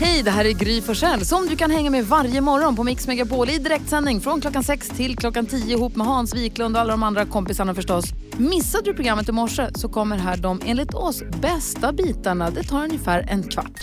Hej, det här är Gry Forssell som du kan hänga med varje morgon på Mix Megapol i direktsändning från klockan 6 till klockan 10 ihop med Hans Wiklund och alla de andra kompisarna förstås. Missade du programmet i morse så kommer här de enligt oss bästa bitarna. Det tar ungefär en kvart.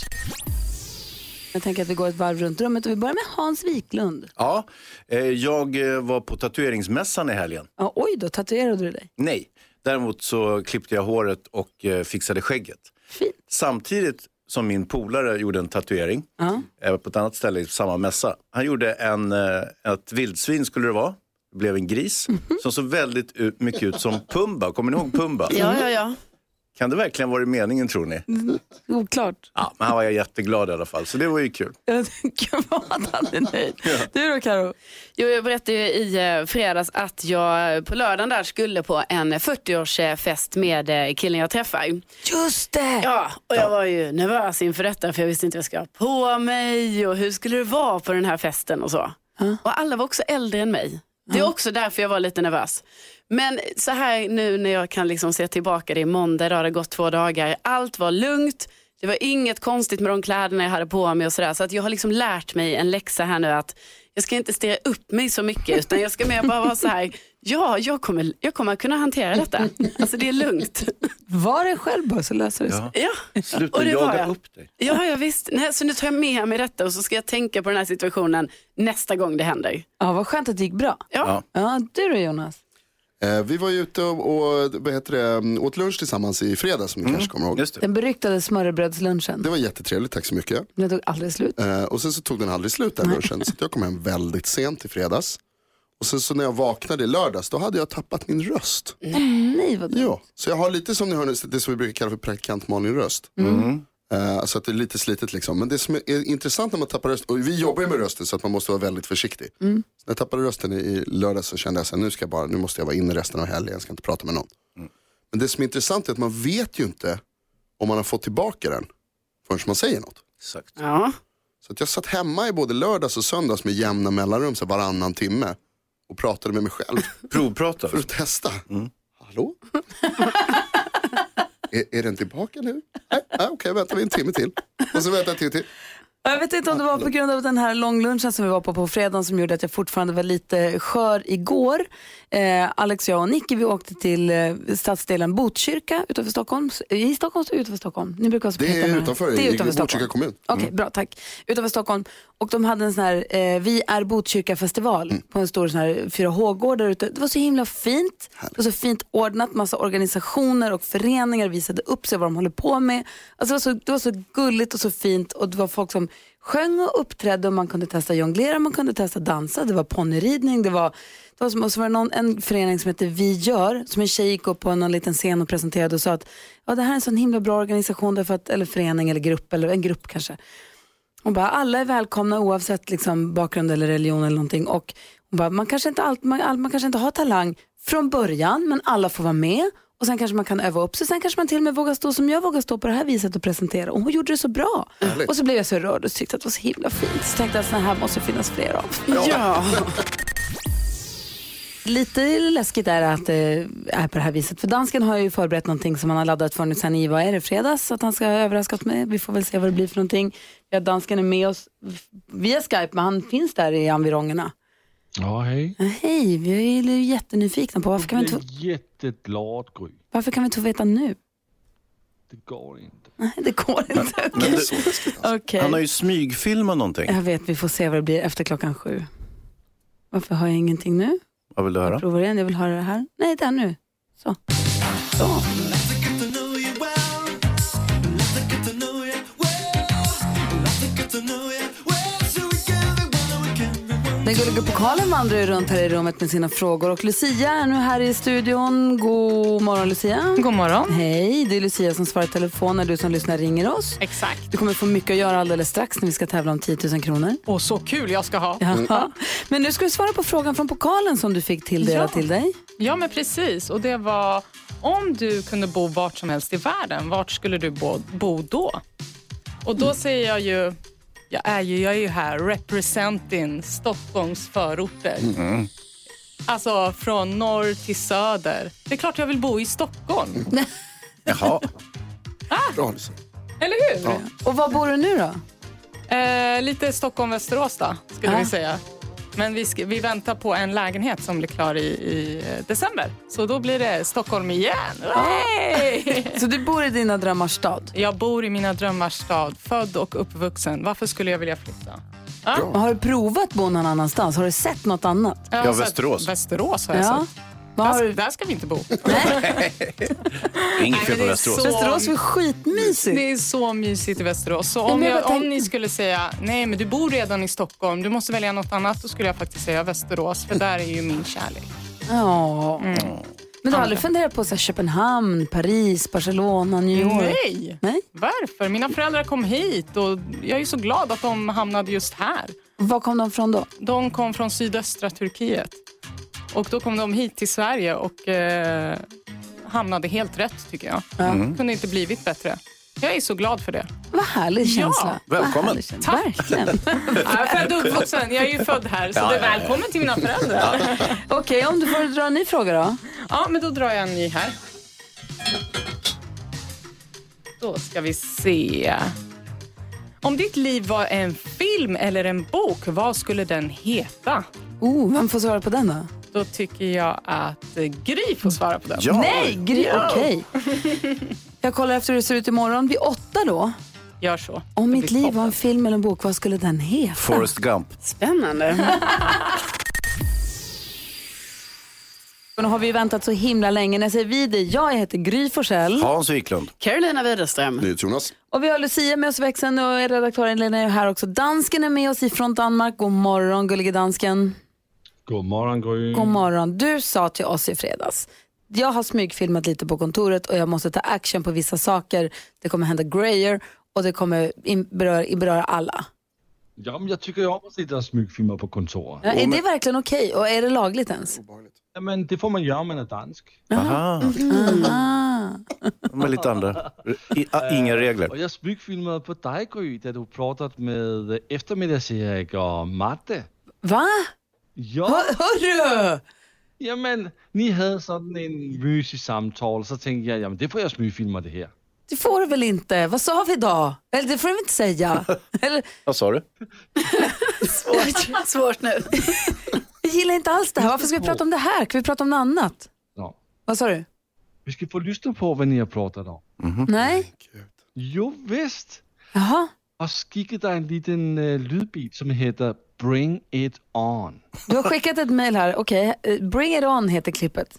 Jag tänker att vi går ett varv runt rummet och vi börjar med Hans Wiklund. Ja, eh, jag eh, var på tatueringsmässan i helgen. Ja, oj då, tatuerade du dig? Nej, däremot så klippte jag håret och eh, fixade skägget. Fint. Samtidigt som min polare gjorde en tatuering Ja. eh, på ett annat ställe i samma mässa. Han gjorde en, eh, ett vildsvin skulle det vara. Det blev en gris Mhm. som såg väldigt ut, mycket ut som Pumba. Kommer ni ihåg Pumba? Ja, Mm. ja, ja. Kan det verkligen vara meningen tror ni? Oklart. Ja, men han var jätteglad i alla fall, så det var ju kul. Jag tänker vad att han är nöjd. Du då Karo? Jo, jag berättade ju i eh, fredags att jag eh, på lördagen där skulle på en eh, 40-årsfest med eh, killen jag träffar. Just det! Ja, och jag var ju nervös inför detta för jag visste inte vad jag skulle ha på mig och hur skulle det vara på den här festen och så. Och alla var också äldre än mig. Det är också därför jag var lite nervös. Men så här nu när jag kan liksom se tillbaka, det är måndag, idag har det gått två dagar. Allt var lugnt, det var inget konstigt med de kläderna jag hade på mig och sådär. Så att jag har liksom lärt mig en läxa här nu att jag ska inte stirra upp mig så mycket utan jag ska mer bara vara så här, ja, jag kommer, jag kommer kunna hantera detta. Alltså det är lugnt. Var det själv bara så löser det sig. Ja. Ja. Sluta Och det var jaga jag. upp dig. Ja, ja visst. Nej, så nu tar jag med mig detta och så ska jag tänka på den här situationen nästa gång det händer. Ja, vad skönt att det gick bra. Ja. Ja, du då Jonas? Eh, vi var ju ute och, och vad heter det, mm, åt lunch tillsammans i fredags som ni kanske kommer ihåg. Just det. Den beryktade smörrebrödslunchen. Det var jättetrevligt, tack så mycket. Den tog aldrig slut. Eh, och sen så tog den aldrig slut den lunchen, så att jag kom hem väldigt sent i fredags. Och sen så när jag vaknade i lördags, då hade jag tappat min röst. Nej, vad dumt. Ja, så jag har lite som ni hör nu, det som vi brukar kalla för praktikant Malin-röst. Eh, så att det är lite slitet liksom. Men det som är intressant när man tappar röst, och vi jobbar ju med rösten så att man måste vara väldigt försiktig. Så När jag tappade rösten i, i lördags så kände jag så här, nu, ska jag bara, nu måste jag vara inne resten av helgen, jag ska inte prata med någon. Men det som är intressant är att man vet ju inte om man har fått tillbaka den förrän man säger något. Exakt. Ja. Så att jag satt hemma i både lördags och söndags med jämna mellanrum, så här varannan timme och pratade med mig själv Provprata. för att testa. Hallå? är, är den tillbaka nu? Nej, nej, okej, väntar vi en timme till. Och så väntar jag till, till. Jag vet inte om det var på grund av den här långlunchen som vi var på på fredagen som gjorde att jag fortfarande var lite skör igår. Eh, Alex, jag och Nicky vi åkte till eh, stadsdelen Botkyrka utanför Stockholm. I Stockholm och utanför Stockholm? Ni brukar vara så Det är peta med här. utanför, det är i utanför Stockholm. Botkyrka kommun. Mm. Okej, bra tack. Utanför Stockholm. Och de hade en sån här eh, Vi är Botkyrka-festival Mm. på en stor sån här 4H-gård där ute. Det var så himla fint. Det var så fint ordnat. Massa organisationer och föreningar visade upp sig vad de håller på med. Alltså det, var så, det var så gulligt och så fint och det var folk som sjöng och uppträdde och man kunde testa jonglera, man kunde testa dansa, det var ponnyridning, det var, det var som, och så var det någon, en förening som heter Vi gör, som en tjej gick upp på någon liten scen och presenterade och sa att ja, det här är en sån himla bra organisation, därför att, eller förening eller grupp, eller en grupp kanske. Hon bara, alla är välkomna oavsett liksom, bakgrund eller religion eller någonting. Och hon bara, man kanske, inte allt, man, all- man kanske inte har talang från början, men alla får vara med. Och sen kanske man kan öva upp sig. Sen kanske man till och med vågar stå som jag vågar stå på det här viset och presentera. Och hon gjorde det så bra. Och så blev jag så rörd och tyckte att det var så himla fint. Så tänkte jag att såna här måste finnas fler av. ja. Lite läskigt är det att det är på det här viset. För dansken har ju förberett någonting som han har laddat för nu sen i, vad är det, fredags? Så att han ska överraska oss med. Vi får väl se vad det blir för någonting. Ja, dansken är med oss via Skype, men han finns där i environgerna. Ja, hej. Ja, Hej, vi är ju jättenyfikna på varför kan, vi Jag Mm. inte, är jätteglad, Gry. varför kan vi inte få veta nu? Det går inte. Nej, det går inte. Men du, Okej. han har ju smygfilmat någonting. Jag vet, vi får se vad det blir efter klockan sju. Varför har jag ingenting nu? Vad vill du höra? Provar igen, jag vill höra det här. Nej, där nu. Så. Den gulliga pokalen vandrar ju runt här i rummet med sina frågor och Lucia är nu här i studion. God morgon Lucia. God morgon. Hej, det är Lucia som svarar i telefon när du som lyssnar ringer oss. Exakt. Du kommer få mycket att göra alldeles strax när vi ska tävla om 10 000 kronor. Och så kul jag ska ha. Ja, Ja. Men nu ska du svara på frågan från pokalen som du fick tilldelad Ja. till dig. men precis. Och det var om du kunde bo vart som helst i världen, vart skulle du bo, bo då? Och då säger jag ju, jag är ju, jag är ju här representing Stockholms förorter. Alltså från norr till söder. Det är klart jag vill bo i Stockholm, Jaha. Bra, Lisa. eller hur? Och var bor du nu då? Eh, lite Stockholm-Västerås då, skulle Ah. vi säga. Men vi, ska, vi väntar på en lägenhet som blir klar i, i eh, december. Så då blir det Stockholm igen. Hey! Så du bor i dina drömmars stad? Jag bor i mina drömmars stad, född och uppvuxen. Varför skulle jag vilja flytta? Och Har du provat att bo någon annanstans? Har du sett något annat? Jag har Ja, sett- Västerås. Västerås har jag Ja. sett. Vad har Där, du? där ska vi inte bo. Det är inget fel på det är Västerås. så- Västerås är skitmysigt. Det är så mysigt i Västerås. Så men om, jag jag, bara om tänk- ni skulle säga nej men du bor redan i Stockholm, du måste välja något annat, då skulle jag faktiskt säga Västerås, för där är ju min kärlek. Ja. Men du har aldrig funderat på så här, Köpenhamn, Paris, Barcelona, New York? Nej! Nej? Varför? Mina föräldrar kom hit och jag är så glad att de hamnade just här. Var kom de från då? De kom från sydöstra Turkiet och då kom de hit till Sverige och eh, hamnade helt rätt tycker jag. Mm. Kunde inte blivit bättre. Jag är så glad för det. Vad härlig känsla. Vad välkommen. härlig känsla. Tack. Verkligen. Jag är född och uppvuxen. Jag är ju född här, så Ja, det ja, ja. är välkommen till mina föräldrar. Okej, om du får dra en ny fråga då. Ja, men då drar jag en ny här. Då ska vi se. Om ditt liv var en film eller en bok, vad skulle den heta? Oh, vem får svara på den då? Då tycker jag att eh, Gry får svara på den. Ja, Nej, Gry, okej. Jag kollar efter hur det ser ut imorgon. Vid åtta då. Gör så. Om Det mitt blir liv toppen. var en film eller en bok, vad skulle den heta? Forrest Gump. Spännande. Nu har vi väntat så himla länge. När jag säger vi det, jag heter Gry Forssell. Hans Wiklund. Carolina Widerström. Jonas. Och vi har Lucia med oss i växeln och är redaktören Lena är här också. Dansken är med oss ifrån Danmark. God morgon gullige dansken. God morgon Gry. God morgon. Du sa till oss i fredags, jag har smygfilmat lite på kontoret och jag måste ta action på vissa saker. Det kommer hända grejer och det kommer in- beröra, beröra alla. Jamen, jag tycker ju om att sitta och smygfilma på kontoret. Ja, är det verkligen okej och är det lagligt ens? Ja, men det får man göra om man är dansk. Ah. Aha. De är lite andra. I, a, inga regler. Och jag smygfilmade på dig Gry, där du pratade med eftermiddags-Erik och Matte. Va? Ja, Hörru! jamen, ni hade sådan en mysig samtal, så tänkte jag, jamen det får jag smygfilma det här. Det får du väl inte? Vad sa vi då? Eller det får du väl inte säga? Eller, Vad sa du? Svårt, svårt nu. jag gillar inte alls det här. Varför ska vi prata om det här? Kan vi prata om något annat? Ja. Vad sa du? Vi ska få lyssna på vad ni har pratat om. Nej? Jo, visst. Jaha. Och skickat dig en liten uh, ljudbit som heter Bring It On. Du har skickat ett mejl här. Okej, eh, Bring It On heter klippet.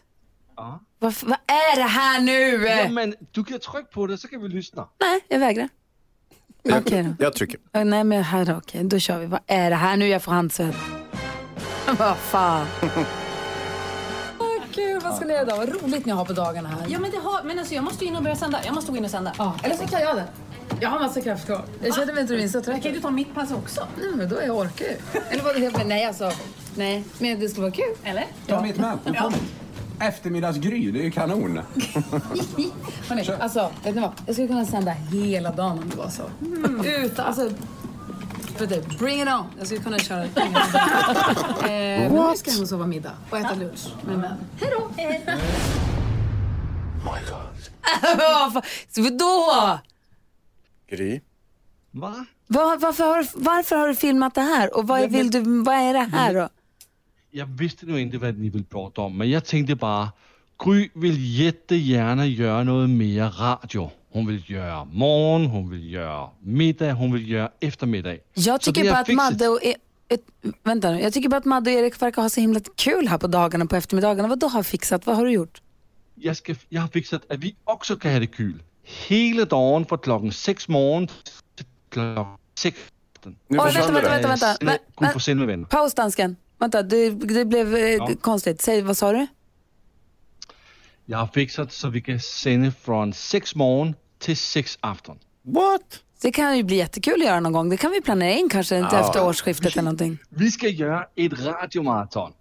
Ja. Vad, vad är det här nu? Jamen, du kan trycka på det, så kan vi lyssna. Nej, jag vägrar. Okej då. Jag tycker. Eh, Nej, men här då. Okej, då kör vi. Vad är det här nu? Jag får handsvett. vad fan. Åh Gud, vad ska ni göra idag? Vad roligt ni har på dagarna här. Ja, men, det har, men alltså, jag måste ju in och börja sända. Jag måste gå in och sända. Ja, eller så kan jag det. Jag har massa kraft kvar. Jag känner mig inte minst trött. Kan du ta mitt pass också? Nej, men då är jag orkar ju. Eller vad det Nej, alltså. Nej, men det skulle vara kul. Eller? Ta mitt med, välkommen. Eftermiddagsgry, det är ju kanon. Hörrni, alltså, vet ni vad? Jag skulle kunna sända hela dagen om det var så. Mm. Utan, alltså. För det, bring it on. Jag skulle kunna köra bring it on. eh, men nu ska jag hem och sova middag och äta lunch med män. Hej då! Oh my god. Vadå? Gry. Va? Var, varför, har, du- varför har du filmat det här? Och vad, vill du, vad är det här då? Jag visste nu inte vad ni ville prata om, men jag tänkte bara, Gry vill jättegärna göra något mer radio. Hon vill göra morgon, hon vill göra middag, hon vill göra eftermiddag. Jag Så tycker det är bara att fixet. Madde och... E- ett, vänta nu. Jag tycker bara att Madde och Erik verkar ha så himla kul här på dagarna på eftermiddagarna. Vad då har fixat? Vad har du gjort? Jeg, skal, jeg har fikset, at vi også kan have det kyl. Hele dagen fra klokken 6 morgen til klokken 6. Nu Oj, försvann vänta, det vänta, där. vänta, vänta. Kunne Men- få sende med venner. Paus dansken. Vänta, det, det blev eh, konstigt. Säg, vad sa du? Jeg har fikset, så vi kan sende fra 6 morgen til 6 aften. What? Det kan ju bli jättekul att göra någon gång. Det kan vi planera in kanske inte efter årsskiftet eller någonting. Vi skal gøre et radiomarathon. Hvad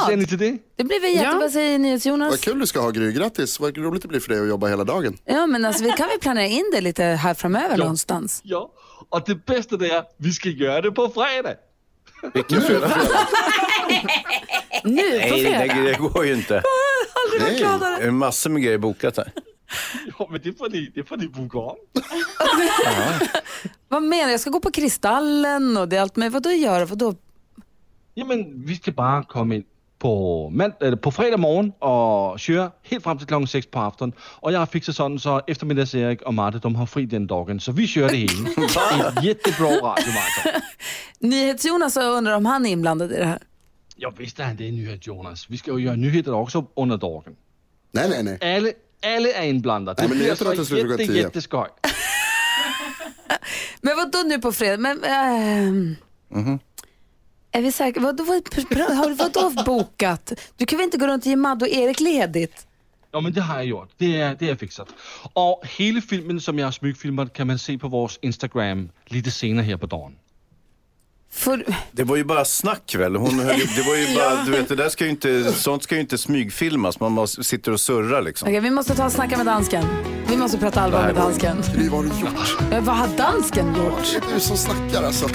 Ja, siger ni til det? det blir väl jätte... Vad säger NyhetsJonas? Vad kul du ska ha Gry, grattis. Vad roligt det blir för dig att jobba hela dagen. Ja, men alltså vi kan väl planera in det lite här framöver någonstans. Ja, og det bedste det er, vi skal gøre det på fredag. Vilken fredag. Nu på Nej, det, fredag. det går ju inte. Nej. Det är massor med grejer bokat här. Jo, men det får ni, det får ni boka om. Vad menar du? Jag ska gå på Kristallen och det är allt med. Vadå göra? Vadå? Jamen, vi skal bare komme ind på, mand, eller på fredag morgen og køre helt frem til klokken 6 på aftenen. Og jeg har fikset sådan, så eftermiddags Erik og Marte, de har fri den dagen, så vi kører det hele. Et jättebra radiomarathon. NyhetsJonas jag undrar om han är inblandad i det här. Jo, vidste han det, nyhed, Jonas. Vi skal jo gøre nyheder også under dagen. Nej, nej, nej. Alle, alle er indblandet. Nej, men bliver jeg tror, så det slutter godt jætte, tid, ja. jætte skøj. Men vadå nu på fredag? Men, ehm, Är vi säkra? Vadå, vad, pr- har du vadå bokat? Du kan väl inte gå runt och ge Madde och Erik ledigt? Jo, men det har jeg gjort. Det er, det er fikset. Og hele filmen, som jeg har smygfilmet, kan man se på vores Instagram lidt senere her på dagen. För, Det var ju bara snack väl? Hon höll, ju- det var ju bara, du vet, det där ska ju inte, sånt ska ju inte smygfilmas. Man bara sitter och surrar liksom. Okej, vi måste ta och snacka med dansken. Vi måste prata allvar med dansken. Gry, vad har du gjort? Men Eh, vad har dansken gjort? Det är du som snackar alltså.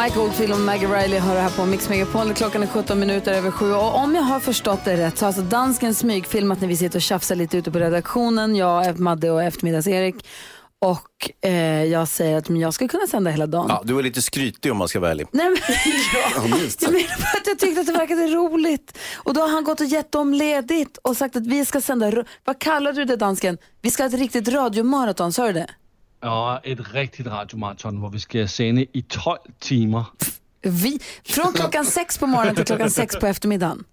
Mike Oldfield och Maggie Riley har det här på Mix Megapol. Klockan är 17 minuter över sju. Och om jag har förstått det rätt så har alltså dansken smygfilmat när vi sitter och tjafsar lite ute på redaktionen. Jag, Madde och eftermiddags-Erik. Och eh, jag säger att men jag ska kunna sända hela dagen. Ja, du var lite skrytig om man ska vara ärlig. Nej, men, Ja, minst. jag menar bara att jag tyckte att det verkade roligt. Och då har han gått och gett dem ledigt och sagt att vi ska sända, ro- vad kallar du det dansken? Vi ska ha ett riktigt radiomaraton, sa du det? Og et rigtigt radiomarathon, hvor vi skal sende i 12 timer. Vi, från klockan sex på morgonen till klockan sex på eftermiddagen.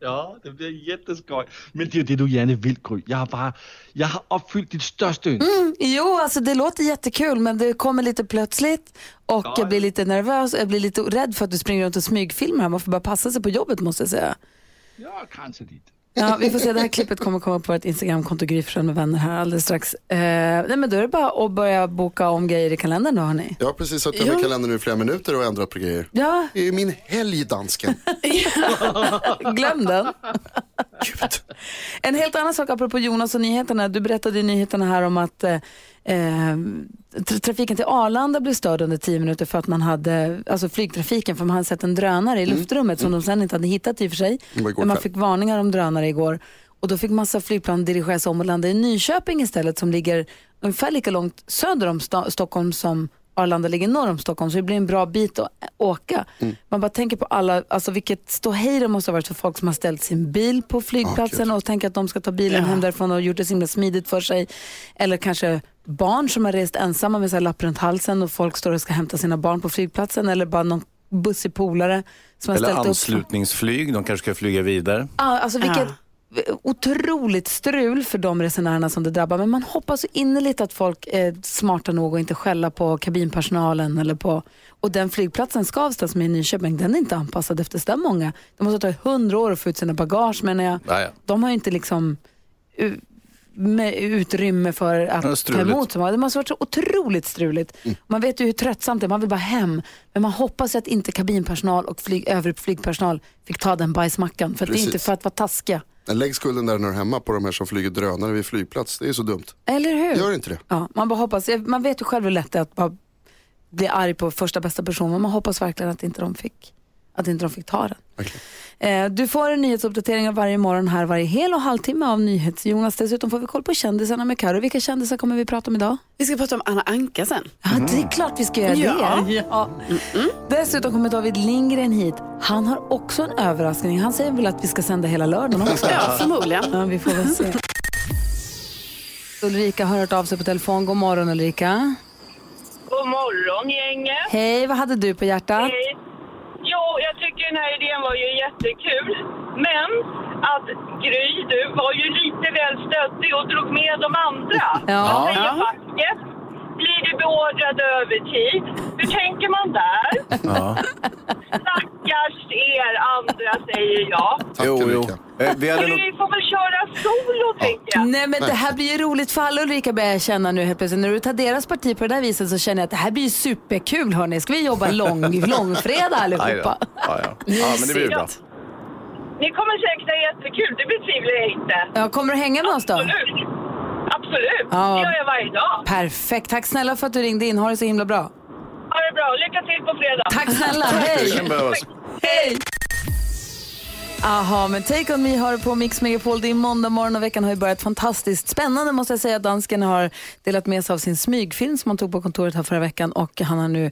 Ja, det bliver jätteskøjt. Men det er jo det, du gerne vil, Gry. Jeg har bare... Jeg har opfyldt dit største ønske. Mm. Jo, alltså det låter jättekul men det kommer lite plötsligt och jag blir lite nervös och jag blir lite rädd för att du springer runt och smygfilmar här. Man får bara passa sig på jobbet måste jag säga. Ja, kanskje dit. Ja, vi får se. Det här klippet kommer komma upp på vårt Instagramkonto Gry Forssell med vänner här alldeles strax. Eh, nej, men då är det bara att börja boka om grejer i kalendern då hörni. Jag har precis suttit med kalendern nu i flera minuter och ändrat på grejer. Ja, Det är min helg, dansken. glöm den. en helt annan sak apropå Jonas och nyheterna. Du berättade i nyheterna här om att eh, eh, tra- trafiken till Arlanda blev störd under tio minuter för att man hade, alltså flygtrafiken, för man hade sett en drönare i luftrummet som de sen inte hade hittat i och för sig. Mm. Det var igår Men man kväll. fick varningar om drönare igår. Och då fick massa flygplan dirigeras om och landa i Nyköping istället som ligger ungefär lika långt söder om sta- Stockholm som Arlanda ligger norr om Stockholm så det blir en bra bit att ä- åka. Man bara tänker på alla, alltså vilket ståhej det måste ha varit för folk som har ställt sin bil på flygplatsen och tänker att de ska ta bilen hem därifrån och gjort det så himla smidigt för sig. Eller kanske barn som har rest ensamma med så här lapp runt halsen och folk står och ska hämta sina barn på flygplatsen eller bara någon bussig polare som har Eller ställt upp. anslutningsflyg, de kanske ska flyga vidare. Ja, alltså vilket otroligt strul för de resenärerna som det drabbar. Men man hoppas så innerligt att folk är smarta nog och inte skälla på kabinpersonalen eller på... Och den flygplatsen Skavsta som är i Nyköping, den är inte anpassad efter så där många. Det måste ha tagit hundra år att få ut sina bagage menar jag. Ja, ja. De har ju inte liksom u- med utrymme för Ja, att ta struligt. Mm. emot så många. Det måste ha varit så otroligt struligt. Man vet ju hur tröttsamt det är, man vill bara hem. Men man hoppas ju att inte kabinpersonal och flyg, övrig flygpersonal fick ta den bajsmackan. För att det är Precis. inte för att vara taskiga. Lägg skulden där när du är hemma på de här som flyger drönare vid flygplats. Det är så dumt. Eller hur? Gör inte det. Ja, man bara hoppas. Man vet ju själv hur lätt det är att bara bli arg på första bästa person. Men man hoppas verkligen att inte de fick, att inte de fick ta den. Verkligen. Eh, du får en nyhetsuppdatering av varje morgon här varje hel och halvtimme av NyhetsJonas. Dessutom får vi koll på kändisarna med Karo. Vilka kändisar kommer vi prata om idag? Vi ska prata om Anna Anka sen. Ja, det är klart vi ska göra det. Ja. Dessutom kommer David Lindgren hit. Han har också en överraskning. Han säger väl att vi ska sända hela lördagen också. Ja, förmodligen. Ja, vi får väl se. Ulrika har hört av sig på telefon. God morgon Ulrika. God morgon gänget! Hej, vad hade du på hjärtat? Hej. Jo, jag tycker den här idén var ju jättekul. Men att Gry, du var ju lite väl stöttig och drog med de andra. Ja. Jag säger facket. Blir du beordrad övertid? Hur tänker man där? Ja. Stackars er andra, säger jag. Tack Ulrika. Eh, Vi hade nog... Gry får väl köra solo, tänker jag. Nej men det här blir ju roligt för alla Ulrika börjar jag känna nu helt plötsligt. När du tar deras parti på det där viset så känner jag att det här blir ju superkul hörni. Ska vi jobba lång, långfredag Aj då. allihopa? Ja, ja. ja, men det blir bra. Ni kommer säkert ha jättekul, det betvivlar jag inte. Ja, kommer du hänga med oss då? Absolut. Absolut, Ja. det gör jag varje dag. Perfekt, tack snälla för att du ringde in. Ha det så himla bra. Ha det bra, lycka till på fredag. Tack snälla, Det hej! kan behövas. Hej! Aha, men Take On Me har på Mix Megapol. Det är måndag morgon och veckan har ju börjat fantastiskt spännande måste jag säga. Dansken har delat med sig av sin smygfilm som han tog på kontoret här förra veckan och han har nu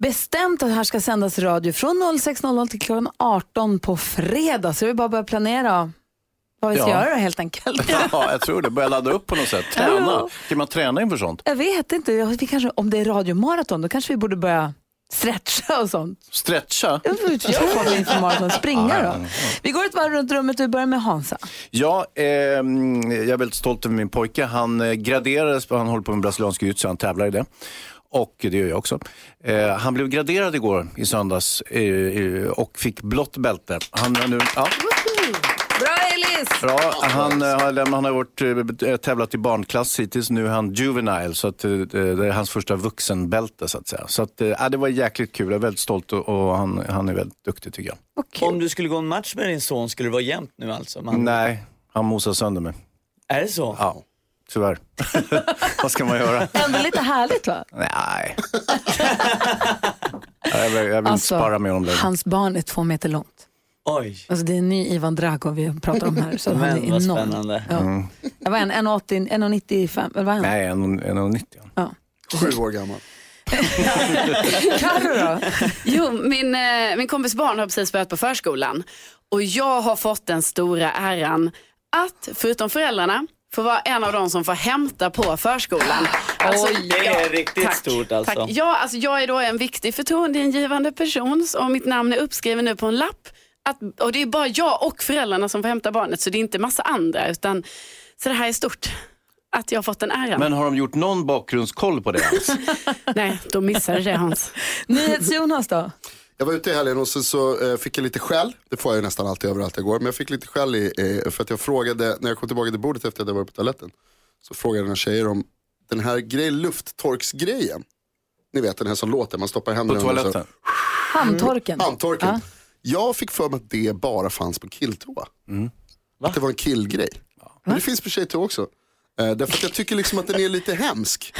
bestämt att det här ska sändas i radio från 06.00 till klockan 18 på fredag. Så vi bara att börja planera vad vi ska Ja. göra helt enkelt. Ja, jag tror det. Börja ladda upp på något sätt. Träna. Kan man träna inför sånt? Jag vet inte, Jag- vi kanske, om det är radiomaraton då kanske vi borde börja stretcha och sånt. Stretcha? Jag får inte göra vad vi inför maraton, springa då. Vi går ett varv runt rummet och vi börjar med Hansa. Ja, ehm, jag är väldigt stolt över min pojke. Han eh, graderades, han håller på med brasiliansk jiu han tävlar i det. Och det gör jag också. Eh, han blev graderad igår i söndags eh, eh, och fick blått bälte. Han är nu... Ja. Bra Elis! Ja, han, eh, har lämnat- han har varit, eh, tävlat i barnklass hittills. Nu är han juvenile, så att, eh, det är hans första vuxenbälte. Så att säga. Så att, eh, ja, det var jäkligt kul. Jag är väldigt stolt och, och han, han är väldigt duktig tycker jag. Om du skulle gå en match med din son skulle det vara jämnt nu alltså? Man... Nej, han mosar sönder mig. Är det så? Ja, tyvärr. Vad ska man göra? Ändå lite härligt va? Nej. jag vill, jag vill Alltså, inte spara med honom längre. Hans barn är två meter långt. Oj. Alltså det är en ny Ivan Drago vi pratar om här. Så han är Men vad enorm. spännande. Mm. Ja. Jag var en 1,80, 1,95, eller vad är han? Nej, 1,90. Sju år gammal. Carro då? Jo, min, eh, min kompis barn har precis börjat på förskolan och jag har fått den stora äran att, förutom föräldrarna, få vara en av de som får hämta på förskolan. Oj, det är riktigt stort alltså. Tack. Ja, alltså jag är då en viktig förtroendeingivande person och mitt namn är uppskriven nu på en lapp. Att, och Det är bara jag och föräldrarna som får hämta barnet så det är inte massa andra. Utan, så det här är stort. Att jag har fått den äran. Men har de gjort någon bakgrundskoll på det ens? Nej, då missade det Hans. NyhetsJonas då? Jag var ute i helgen och sen så eh, fick jag lite skäll. Det får jag ju nästan alltid överallt jag går. Men jag fick lite skäll i, eh, för att jag frågade, när jag kom tillbaka till bordet efter att jag varit på toaletten. Så frågade några tjejer om den här grej, lufttorksgrejen. Ni vet den här som låter, man stoppar På händerna under så- toaletten? Handtorken? handtorken. Jag fick för mig att det bara fanns på killtoa. Att det var en killgrej. Men det finns på tjejtoa också. Eh, därför att jag tycker liksom att den är lite hemsk.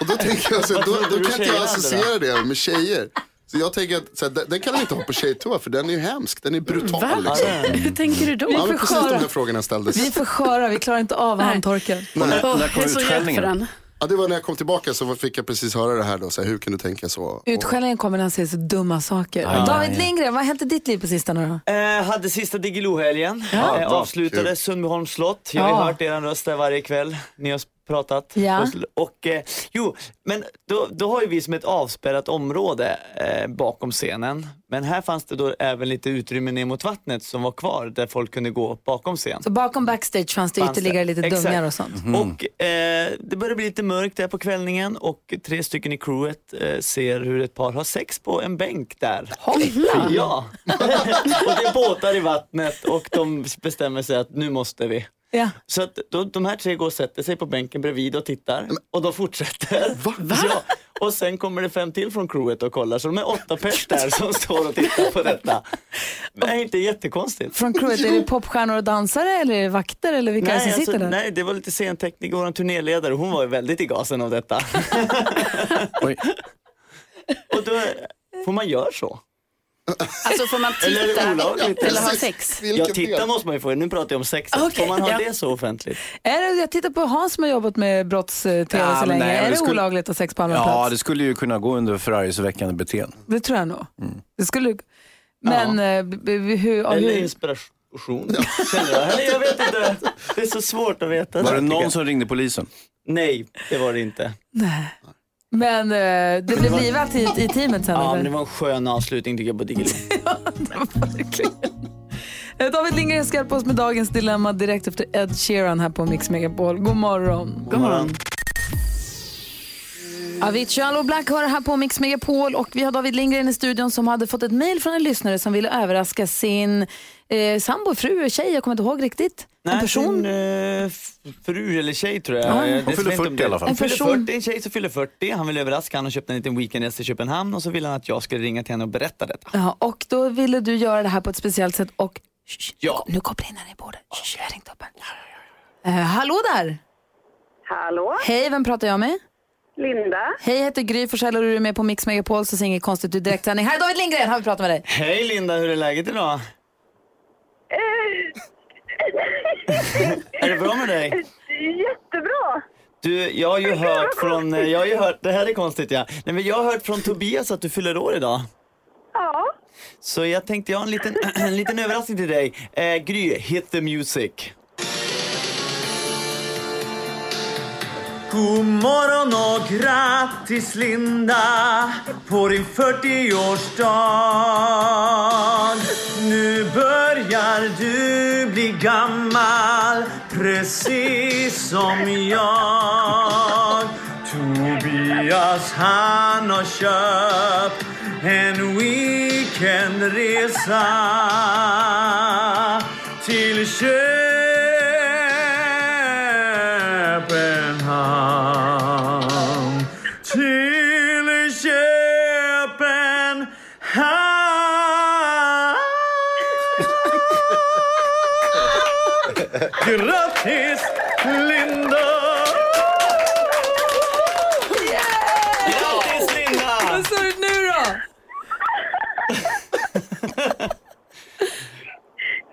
Och då tänker jag så här, då, Vad då trodde du kan inte tjejer jag hade associera det med tjejer. Så jag tänker att så här, den, den kan man inte ha på tjejtoa för den är ju hemsk, den är brutal. Liksom. Hur tänker du då? Ja, Vi får men precis de sköra. här frågorna ställdes. Vi får sköra, vi klarar inte av handtorken. När, Åh, när kom jag är så rädd för utskällningen? den. Ja, det var när jag kom tillbaka så fick jag precis höra det här då, så här, hur kan du tänka så? Och- Utskällningen kommer när han säger så dumma saker. David Lindgren, vad har hänt i ditt liv på sistone då? Eh, hade sista Diggiloo-helgen. Eh, vad avslutade kul. Sundbyholms slott. Jag har ju Ja. hört er röst där varje kväll. Ni har pratat. Ja. Och, eh, jo, men då, då har ju vi som ett avspärrat område eh, bakom scenen. Men här fanns det då även lite utrymme ner mot vattnet som var kvar där folk kunde gå bakom scen. Så bakom backstage fanns det Fanns ytterligare det. lite Exakt. dungar och sånt. Och eh, det börjar bli lite mörkt där på kvällningen och tre stycken i crewet eh, ser hur ett par har sex på en bänk där. Hoppla. Ja. och det är båtar i vattnet och de bestämmer sig att nu måste vi. Ja. Så att då, de här tre går och sätter sig på bänken bredvid och tittar och de fortsätter. Va? Ja. Och sen kommer det fem till från crewet och kollar så de är åtta pers där som står och tittar på detta. Nej, inte jättekonstigt. Från crewet, är det popstjärnor och dansare eller är det vakter eller vilka är det som sitter där? nej, det var lite scentekniker och en turnéledare. Hon var ju väldigt i gasen av detta. Oj. och då får man göra så. Alltså får man Eller är det titta olagligt? eller ha sex? Vilken Ja, titta del? måste man ju få. Nu pratar jag om sexet. Okej, får man ha ja. det så offentligt? Är det, jag tittar på Hans som har jobbat med brotts-tv Ja, så men länge. nej, är det det skulle- olagligt att ha sex på allmän Ja, plats? det skulle ju kunna gå under förargelseväckande beteende. Det tror jag nog. Mm. Det skulle... Men eh, b- b- hur... ja, Eller hur... inspiration? Känner jag. Eller jag vet inte. Det är så svårt att veta. Var det tycker någon jag. som ringde polisen? Nej, det var det inte. Nej. Men eh, det blev livat i, i teamet sen. Ja, eller? men det var en skön avslutning tycker jag på Diggiloo. Verkligen. Eh, David Lindgren ska hjälpa oss med dagens dilemma direkt efter Ed Sheeran här på Mix Megapol. God morgon. God morgon. Avicii och Allo Black hör här på Mix Megapol och vi har David Lindgren i studion som hade fått ett mejl från en lyssnare som ville överraska sin eh, sambo, fru, tjej, jag kommer inte ihåg riktigt. Nej, en person. Sin, eh, f- fru eller tjej tror jag. Ja. Jag Hon vet fyller inte om 40 det- i alla fall. En Hon fyller person. 40, en tjej som fyller 40. Han vill överraska. Han har köpt en liten weekendresa i Köpenhamn och så vill han att jag skulle ringa till henne och berätta detta. Ja, och då ville du göra det här på ett speciellt sätt och Shh, shh, Ja. nu kopplar jag in henne i bordet. Shh, jag har ringt upp henne. Eh, hallå där! Hallå, Hej, vem pratar jag med? Linda. Hej, jag heter Gry Forssell och du är med på Mix Megapol så ser inget konstigt ut direktsändning. Här är David Lindgren, han vill prata med dig. Hej Linda, hur är läget idag? Är det bra med dig? Jättebra! Du, jag har ju hört från, jag har ju hört, det här är konstigt ja. Nej, men jag har hört från Tobias att du fyller år idag. Ja. Så jag tänkte jag har en liten, en liten överraskning till dig. Eh, Gry, hit the music. God morgon och grattis Linda på din 40-årsdag. Nu börjar du bli gammal precis som jag. Tobias han har köpt en weekendresa till Köpenhamn. Till Köpenhamn. Grattis Linda! Grattis Linda! Vad sa du nu då?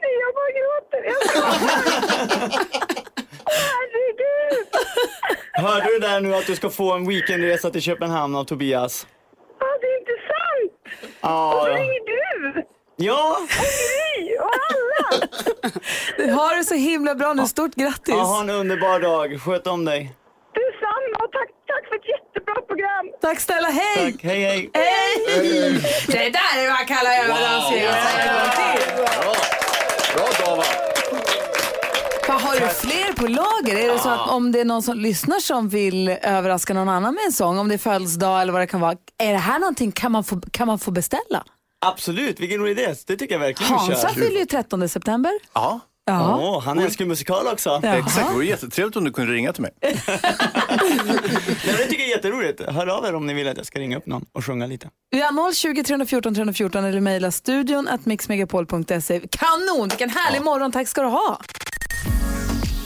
Jag bara gråter. Jag bara... Herregud! Hörde du där nu att du ska få en weekendresa till Köpenhamn av Tobias? Ja, det är inte sant! Ja, Och så ja. ringer du! Ja, Gry och alla! Ha det så himla bra nu. Stort grattis. ja, ha en underbar dag. Sköt om dig. Detsamma och tack, tack för ett jättebra program! Tack snälla. Hej! Tack, hej hej. Hej! Det där är vad jag kallar överraskning. Bra Dava! Vad Har du fler på lager? Är det så att om det är någon som lyssnar som vill överraska någon annan med en sång, om det är födelsedag eller vad det kan vara, är det här någonting kan man få, kan man få beställa? Absolut, vilken rolig idé. Det tycker jag verkligen vi Hansa kör. fyller ju 13 september. Ja. alltså. Ja. Åh, han älskar ju musikal också. Jaha. Exakt, det vore jättetrevligt om du kunde ringa till mig. Nej, men Det tycker jag är jätteroligt. Hör av er om ni vill att jag ska ringa upp någon och sjunga lite. Vi har 020 314 314 eller mejla studion att mixmegapol.se. Kanon! Vilken härlig morgon. Tack ska du ha.